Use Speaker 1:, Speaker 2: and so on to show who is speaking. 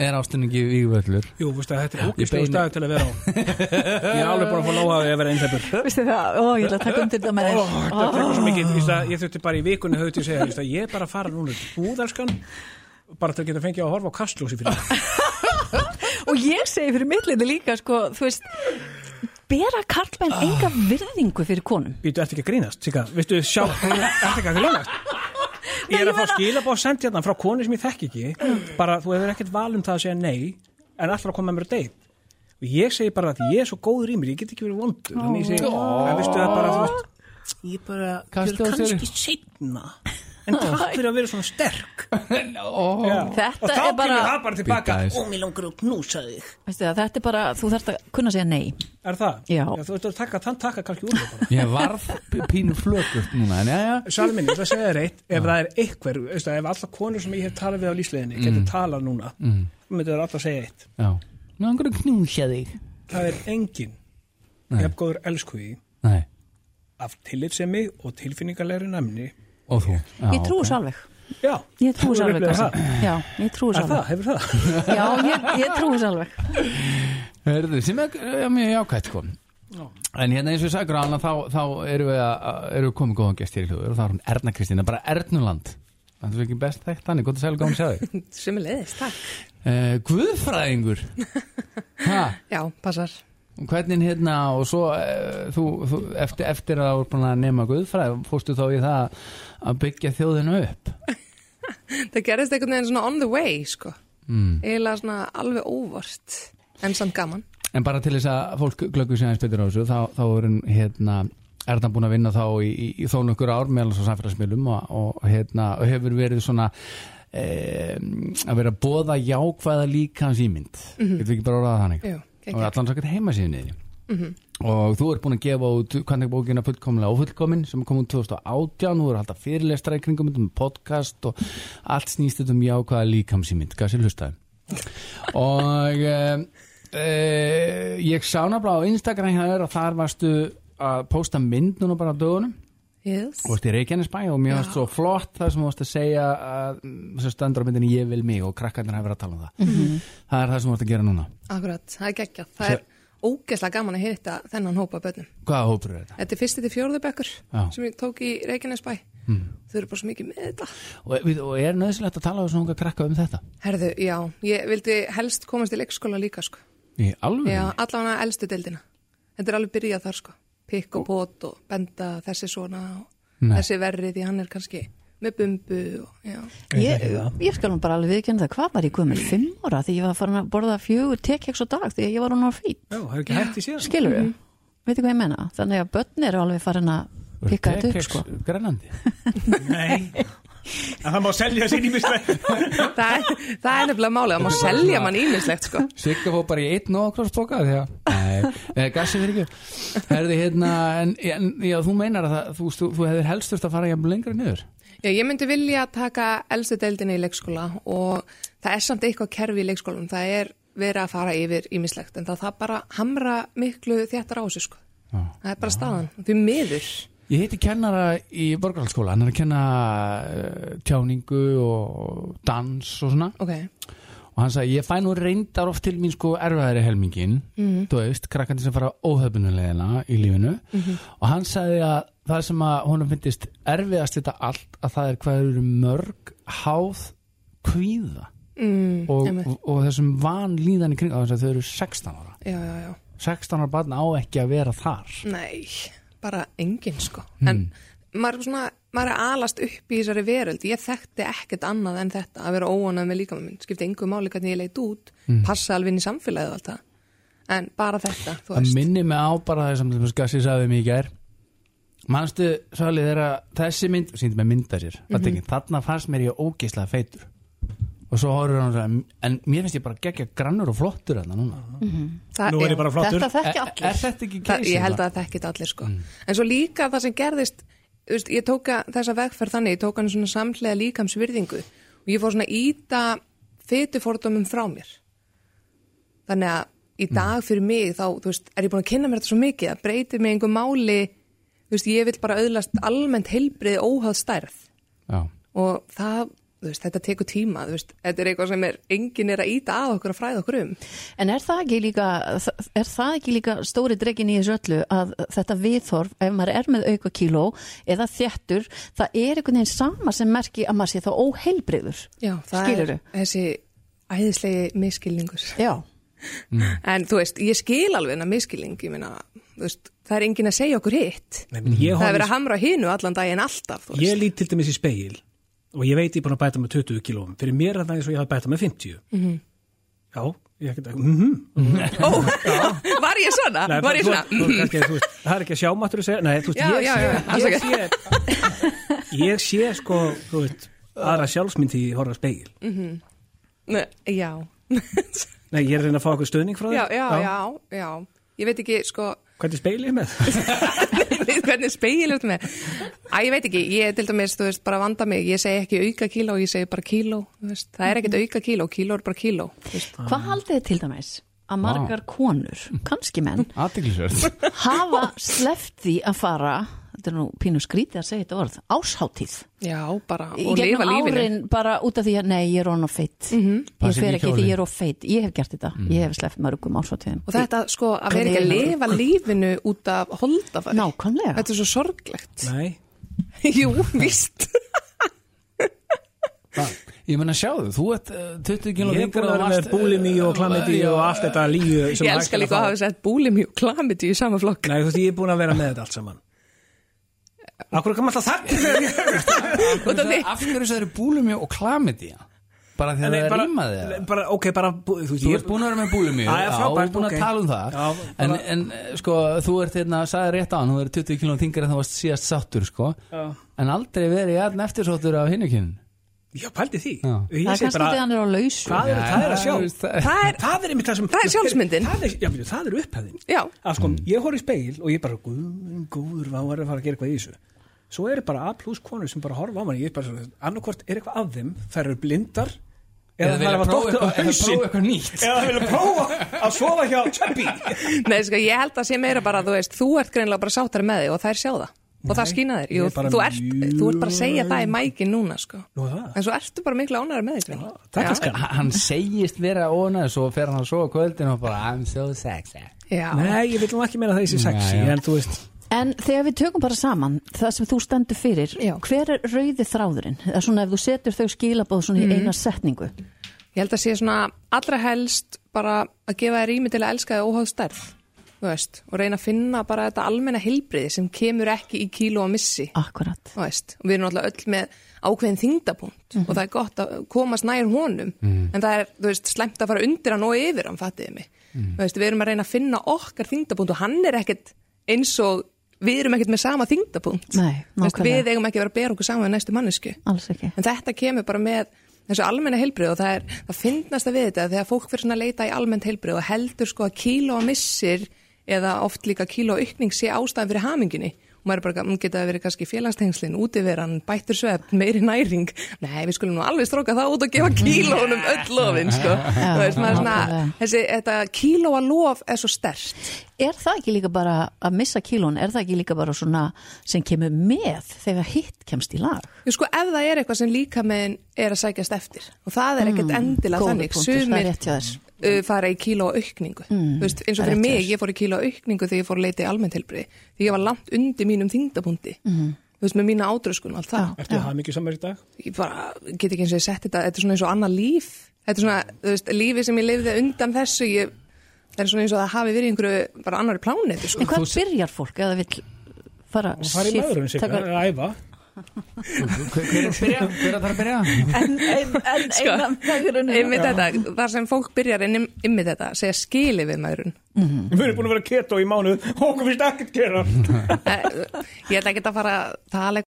Speaker 1: er ástinni ekki vígvöllur
Speaker 2: Jú, veistu að þetta er
Speaker 1: Ég
Speaker 2: ógislega
Speaker 1: beini-
Speaker 2: staður til að vera á Ég er alveg búin að fá lóa að ég verið einhleipur
Speaker 3: Vistu það, ó, ég ætla að taka undir þetta með
Speaker 2: Ó,
Speaker 3: þér
Speaker 2: Þetta tekur svo mikið, veistu að ég þurfti bara í vikunni höfðu til að segja, veistu að ég er bara að fara núna til búðalskan bara til að geta fengið að horfa á kastljósi fyrir það.
Speaker 3: Og ég segi fyrir mittleiti líka, sko, þú veist Bera karlmenn
Speaker 2: Ah.
Speaker 3: enga virðingu fyrir konum
Speaker 2: Býtu, ertu ekki að grínast, Sigga? Veistu, sjá, ertu ekki að grínast? Ég er að fá skilabóð send hérna frá konu sem ég þekki ekki bara, þú hefur ekkert val um það að segja nei en alltaf að koma með mér að deyð og ég segi bara að ég er svo góður í mér ég get ekki verið vondur þannig ég segi, en veistu það bara, þú veist ég bara,
Speaker 1: Kastaðu
Speaker 2: ég er
Speaker 1: sér
Speaker 2: kannski seinna en takk fyrir að vera svona sterk
Speaker 1: oh.
Speaker 2: Já.
Speaker 3: Þetta
Speaker 2: og þá
Speaker 3: er bara-
Speaker 2: kemur það bara tilbaka
Speaker 1: Bíddu aðeins.
Speaker 2: og mér langar að knúsa þig
Speaker 3: Veistu það, þetta er bara, þú þarft að kunna segja nei
Speaker 2: er það?
Speaker 3: Já.
Speaker 2: þú veist að taka, þann taka kannski úr það bara
Speaker 1: Ég varð p- pínu flökust núna En já, já,
Speaker 2: Sali minn, ég ætla að segja þér eitt ef það er einhver, veist, ef alla konur sem ég hef talað við á lífsleginni mm. getur talað núna mm. myndir það alltaf að segja eitt
Speaker 1: já Nú hann hverju knúsja þig
Speaker 2: það er engin
Speaker 1: Nei.
Speaker 2: ef góður elsku í
Speaker 1: Nei,
Speaker 2: af tillitsemi og tilfinningalegri næmni
Speaker 1: og þú
Speaker 2: Ah,
Speaker 1: já,
Speaker 3: Ég trúi svo
Speaker 1: ok.
Speaker 3: alveg
Speaker 2: já,
Speaker 3: Ég trúi svo
Speaker 2: hefur
Speaker 3: alveg
Speaker 2: upplifað
Speaker 3: Kassi. Já, ég trúi
Speaker 2: það
Speaker 3: svo
Speaker 2: er það,
Speaker 3: alveg
Speaker 2: hefur það
Speaker 3: Já, ég, ég trúi svo alveg
Speaker 1: Hörðu, sem er já, mjög jákvætt sko En hérna eins og sagur hana þá, þá erum við, að- að- erum við komið góðan gestir í hljóður og þá er hún Erna Kristín, bara Ernuland Það er ekki best þekkt hann, gott að segja gáðum sér þig
Speaker 4: Sumi leiðist, takk.
Speaker 1: uh, Guðfræðingur Ha,
Speaker 4: Já, passar.
Speaker 1: og hvernig hérna og svo uh, þú, þú, eftir, eftir að þú er búin að nema Guðfræð fórstu þá í það að byggja þjóðinu upp
Speaker 4: Það gerðist einhvern veginn svona on the way, sko. Mm. Eða svona alveg óvart, en samt gaman.
Speaker 1: En bara til þess að fólk glöggur sér aðeins betur á þessu þá, þá er hann hérna er það búin að vinna þá í, í, í þó nokkur ár meðal svo samfélagsmiðlum og, og hérna og hefur verið svona e, að vera að bóða jákvæða líka hans ímynd mm -hmm. getur ekki bara orðað það þannig
Speaker 4: Jú, ekki.
Speaker 1: og allan sakkert heima síðan niður og þú ert búin að gefa út hvernig bókina fullkomlega ófullkomin sem kom út 2018 þú er alltaf fyrirlestra í kringum þetta, um podcast og allt snýst þetta um jákvæða líkamsýmynd hvað sér hlustaði og e, e, ég sá nafnilega á Instagram hjá þér að þar varstu að posta mynd núna bara á dögunum
Speaker 4: Yes.
Speaker 1: og varst í Reykjanesbæ og mér varst svo flott það sem þú varst að segja að, mm, sem stendur á myndinni ég vil mig og krakkarnir hafa verið að tala um það
Speaker 3: Mhm.
Speaker 1: það er það sem þú varst að gera núna
Speaker 4: Akkurat, það er geggjað. Það er ógeðslega gaman að hitta þennan hópa bönnum.
Speaker 1: hvaða hópur er þetta?
Speaker 4: Þetta er fyrsti til fjórðubekkur
Speaker 1: Já.
Speaker 4: sem ég tók í Reykjanesbæ. Mm. Þau eru bara svo mikið með þetta.
Speaker 1: Og, við, og er nöðsilegt að tala á svona unga krakka um þetta?
Speaker 4: Herðu, já, ég vildi helst komast í leikskóla líka, sko.
Speaker 1: Í alveg?
Speaker 4: Já, allavega elstu deildina. Þetta er alveg byrjað þar, sko. Pikk og pot og benda þessi svona og
Speaker 1: Nei.
Speaker 4: þessi verri því hann er kannski með bumbu og já.
Speaker 3: Ég, ég skal nú bara alveg viðkjönda það, hvað var ég guðmur fimm ára því ég var farin að borða fjögur tekheks og dag því að ég var hún á fít,
Speaker 2: já, hefur ekki hægt í síðan
Speaker 3: skilur við? Veitu hvað ég menna? Þannig að börn eru alveg farin að pikka þetta upp, sko.
Speaker 1: Grænlandi?
Speaker 2: nei, en það má selja sér ímislega
Speaker 4: það, er, það er nefnilega málið, það má selja mann ímislegt sko.
Speaker 1: Sigga fór bara í einn og krossboka því að, nei, gassi fyrir ekki Herði hérna, en, en já, þú meinar að það, þú, þú, þú hefðir helst þurft að fara jafn lengra niður
Speaker 4: Já, ég myndi vilja taka elstu deildinni í leikskóla og það er samt eitthvað kerfi í leikskólanum, það er verið að fara yfir ímislegt en það, það bara hamra miklu þjættar á þessu sko.
Speaker 1: Já.
Speaker 4: Það er bara staðan, því miður.
Speaker 1: Ég heiti kennara í borgarhaldsskóla, hann er að kenna eh, tjáningu og dans og svona
Speaker 4: Ok,
Speaker 1: og hann sagði, ég fæ nú reyndar oft til mín sko erfaðari helmingin
Speaker 4: Mhm.
Speaker 1: þú veist, krakkandi sem fara óhöfnulegina í lífinu
Speaker 4: Mhm.
Speaker 1: og hann sagði að það sem að honum finnist erfiðast þetta allt, að það er hvað eru mörg háð kvíða
Speaker 4: mm,
Speaker 1: og,
Speaker 4: einmitt.
Speaker 1: og, og þessum vanlíðan í kring þannig að þau eru 16 ára
Speaker 4: já, já, já.
Speaker 1: 16 ára barn á ekki að vera þar
Speaker 4: Nei, bara enginn sko. En maður, er svona, maður er alast upp í þessari veröld. Ég þekkti ekkert annað en þetta að vera óanað með líkamann minn. Skipti engu máli hvernig ég leit út, passa alveg inn í samfélagið og allt það. En bara þetta, þú
Speaker 1: það
Speaker 4: veist.
Speaker 1: minni mig á bara það sem þessum gassi sagði mig í gær manstu svalið þegar þessi mynd, síndi mig mynda sér mm
Speaker 4: Mhm.
Speaker 1: -hmm. þarna fannst mér ég ógeislega feitur og svo horfður hann og sagði, en mér finnst ég bara geggja grannur og flottur þarna núna
Speaker 4: Það,
Speaker 2: nú er ég bara flottur E-
Speaker 3: Þetta
Speaker 1: er,
Speaker 3: þekki
Speaker 1: er
Speaker 3: allir.
Speaker 1: þetta ekki
Speaker 4: það,
Speaker 1: geysið?
Speaker 4: ég held að það ekki allir sko. En svo líka það sem gerðist, þú veist, ég tóka þessa vegferð þannig, ég tók hann svona samlega líkamsvirðingu og ég fór svona að íta fytufordómum frá mér. Þannig að í dag fyrir mig þá, þú veist, er ég búin að kynna mér þetta svo mikið, það breytir mig einhver máli, þú veist, ég vil bara auðlast almennt heilbrið óháð stærð
Speaker 1: Já.
Speaker 4: og það þú veist, þetta tekur tíma, þú veist, þetta er eitthvað sem er, enginn er að íta að okkur að fræða okkur um.
Speaker 3: En er það ekki líka, er það ekki líka stóri dregin í þessu öllu að þetta viðhorf, ef maður er með auka kíló eða þjættur, það er einhvern veginn sama sem merki að maður sé þá óheilbrigður.
Speaker 4: Já, það
Speaker 3: Skilurðu?
Speaker 4: er þessi æðislegi miskilningur.
Speaker 3: Já,
Speaker 4: En þú veist, ég skil alveg hennar miskilning, ég meina, þú veist, það er enginn að segja okkur hitt.
Speaker 2: Nei, menn, ég,
Speaker 4: Það er verið
Speaker 2: horf,
Speaker 4: að hamra á hinu allan daginn alltaf, þú
Speaker 2: ég
Speaker 4: veist.
Speaker 2: lít til dæmis í speil og ég veit ég er búin að bæta með 20 kílóum fyrir mér er það eins og ég hafi bæta með 50
Speaker 4: Mhm.
Speaker 2: já, ég get mm -hmm.
Speaker 4: Ó, var ég svona? var ég Ah, svona? Mhm.
Speaker 2: þú, þú, kannski, þú veist, það er ekki að sjá matur að segja nei, þú veist,
Speaker 4: Já,
Speaker 2: ég,
Speaker 4: já, já,
Speaker 2: sé, ég, sé, ég sé sko þú veist, aðra sjálfsmynd því ég horfa að speil
Speaker 4: Mm. Nei, Já.
Speaker 2: nei, ég er að reyna að fá okkur stöðning frá
Speaker 4: já,
Speaker 2: þér
Speaker 4: já, já, já. Ég veit ekki, sko,
Speaker 2: hvernig speil ég með
Speaker 4: hvernig spegil ertu með Æ, ég veit ekki, ég til dæmis, þú veist, bara vanda mig ég segi ekki auka kíló, ég segi bara kíló þú veist, það er
Speaker 2: Mhm.
Speaker 4: ekkert auka kíló, kíló er bara kíló þú veist.
Speaker 3: hvað haldið þið til dæmis að margar konur, kannski menn,
Speaker 1: Athyglisverð.
Speaker 3: hafa sleppt því að fara, þetta er nú pínu skrítið að segja þetta orð, ásháttíð.
Speaker 4: já, bara,
Speaker 3: Í
Speaker 4: og lifa
Speaker 3: gegnum
Speaker 4: lífinu
Speaker 3: árin bara út af því að nei, ég er on of feit. Ég
Speaker 4: Mhm.
Speaker 1: Passa ekki
Speaker 3: fer
Speaker 1: í
Speaker 3: ekki því
Speaker 1: kjólinn.
Speaker 3: ég er of feit. Ég hef gert þetta. Ég hef sleppt mörgum ásháttíðum.
Speaker 4: og þetta, sko, að vera ekki að
Speaker 3: Hvernig-
Speaker 4: lifa lífinu út af holdafari
Speaker 3: Nákvæmlega.
Speaker 4: þetta er svo sorglegt
Speaker 2: nei,
Speaker 4: jú, víst
Speaker 1: Ég menna sjáðu, þú ert uh, 20 kilo
Speaker 2: ég er búin að vera með búlimi
Speaker 1: eh,
Speaker 2: og klamiti og allt þetta líu sem
Speaker 4: ég
Speaker 2: hægt
Speaker 4: elska
Speaker 2: er
Speaker 4: líka að
Speaker 2: fá.
Speaker 4: hafa sett búlimi og klamiti í sama flokk
Speaker 2: nei, þú veist, ég er búin að vera með þetta allt saman Akkur kom alltaf þakki fyrir því
Speaker 4: út af því
Speaker 1: Af hverju það eru búlumjó og klamidía? Bara því að það er rímaði eða?
Speaker 2: bara, Ok, bara bú- Þú veist,
Speaker 1: Þú
Speaker 2: ég
Speaker 1: ert búin að vera með búlumjó
Speaker 2: Já, já, frábært,
Speaker 1: búin að
Speaker 2: ok.
Speaker 1: tala um það
Speaker 2: Já,
Speaker 1: en,
Speaker 2: bara-
Speaker 1: en eh, sko, þú ert hérna, sagði rétt á hann Þú ert 20 kilo þingar en þú varst síðast sáttur sko. En aldrei verið ég allan eftirsóttur af hinu kynun
Speaker 2: Já, pældi því
Speaker 1: Já.
Speaker 2: Ég
Speaker 3: Það er
Speaker 2: segi
Speaker 3: kannski
Speaker 2: bara,
Speaker 3: þegar hann er á lausu.
Speaker 2: Hvað eru
Speaker 1: Já,
Speaker 2: það er að
Speaker 1: þú veist,
Speaker 2: sjá?
Speaker 1: það er-
Speaker 2: Það er, það er einmitt það sem
Speaker 4: Það er sjálfsmyndin.
Speaker 2: Það er, já, veitu, það er upphæðin
Speaker 4: Já.
Speaker 2: Að
Speaker 1: Mm.
Speaker 2: sko, ég horf í speil og ég bara Guð, minn góður, hvað er að fara að gera eitthvað í þessu Svo eru bara A plus konur sem bara horfa á manni Ég er bara svona, annarkvort er eitthvað af þeim Þær eru blindar Eða þær
Speaker 1: vilja
Speaker 2: hafa
Speaker 1: prófa
Speaker 2: dóttur á
Speaker 1: eitthvað- eða
Speaker 2: hausinn
Speaker 1: prófa eitthvað nýtt
Speaker 2: Eða þær vilja prófa að sofa hjá Tjöppi
Speaker 4: Nei, sko, ég held að sé meira bara, þú veist, þú ert greinlega bara sáttar með þig og þær sjá það og það skýna þér, Jú,
Speaker 2: ég er bara
Speaker 4: þú, ert,
Speaker 2: mjög-
Speaker 4: þú ert bara að segja það í mækin núna sko.
Speaker 2: Nú er það.
Speaker 4: en svo ertu bara miklu ánæri með þig já,
Speaker 2: Takk að skan
Speaker 1: Hann segist vera ónað Svo fer hann að sofa á kvöldin og bara I'm so sexy
Speaker 4: já.
Speaker 2: Nei, ég vil nú ekki meina það í sér sexy
Speaker 1: Nei, já.
Speaker 2: En þú veist,
Speaker 3: En þegar við tökum bara saman það sem þú stendur fyrir,
Speaker 4: Já.
Speaker 3: hver er rauði þráðurinn? Það er svona ef þú setur þau skilabóð svona í eina setningu.
Speaker 4: ég held að sé svona allra helst bara að gefa þér ími til að elska þig óháð stærð þú veist, og reyna að finna bara þetta almenna hilbriði sem kemur ekki í kíló að missi
Speaker 3: Akkurat.
Speaker 4: Þú veist, og við erum alltaf öll með ákveðin þingdapunkt
Speaker 3: Mhm.
Speaker 4: og það er gott að komast nær honum en það er, þú veist, slæmt að fara undir hann og yfir hann, fattiði mig
Speaker 3: Mhm.
Speaker 4: Þú veist, við erum að reyna að finna okkar þingdapunkt og hann er ekkert eins og við erum ekkert með sama þingdapunkt
Speaker 3: Nei,
Speaker 4: Þú veist,
Speaker 3: nákvæmlega.
Speaker 4: við eigum ekki að vera að bera okkur saman við næstu mannesku
Speaker 3: Alls ekki.
Speaker 4: en þetta kemur bara með þessu almenna heilbrið og það er það finnast að við þetta þegar fólk fyrir svona að leita í almennt heilbrið og heldur sko að kíló að missir eða oft líka kíló aukning sé ástæðan fyrir haminginni og maður er bara, hún geta verið kannski félagstengslin, útiveran, bættur svefn, meiri næring nei, við skulum nú alveg stróka það út og gefa kílónum öll lofin sko.
Speaker 3: Já,
Speaker 4: Þú veist, maður er svona,
Speaker 3: nákvæmlega.
Speaker 4: þessi, þetta kílóa lof er svo stert
Speaker 3: Er það ekki líka bara að missa kílón? Er það ekki líka bara svona sem kemur með þegar hitt kemst í lag?
Speaker 4: Ég sko, ef það er eitthvað sem líkamegin er að sækjast eftir og það er ekkert
Speaker 3: Mm,
Speaker 4: endilega
Speaker 3: góður
Speaker 4: þannig,
Speaker 3: punktur, það er
Speaker 4: sumir
Speaker 3: rétt hjá þér. Mm,
Speaker 4: uh, fara í kíló aukningu veist, eins og
Speaker 3: það er
Speaker 4: fyrir
Speaker 3: rétt hjá
Speaker 4: mig,
Speaker 3: þér.
Speaker 4: ég fór í kíló aukningu þegar ég fór að leita í almennt helbriði því ég var langt undir mínum þingdapunkti
Speaker 3: Mhm.
Speaker 4: þú veist, með mína átröskun og allt það
Speaker 2: ertu það mikið samar í dag?
Speaker 4: ég bara get ekki eins og ég sett þetta þetta er svona eins og annað líf þetta er svona, þú veist, lífi sem ég lifði undan þessu ég, það er svona eins og það hafi verið í einhverju bara annari plánetu sko.
Speaker 3: En hvað byrjar fólk eða vill fara
Speaker 2: Það fari í
Speaker 3: shift-
Speaker 2: maðurinn sig,
Speaker 3: taka-
Speaker 2: æfa
Speaker 1: Hver hver er að byrja? Hver er að fara að byrja?
Speaker 3: En, en, en einan
Speaker 4: einmitt þetta, þar sem fólk byrjar en einmitt þetta, segja skili við maðurinn
Speaker 1: Mm.
Speaker 2: Við erum búin að vera keto í mánuð og okkur finnst ekkert gera
Speaker 4: Eh, ég ætla ekki að fara að tala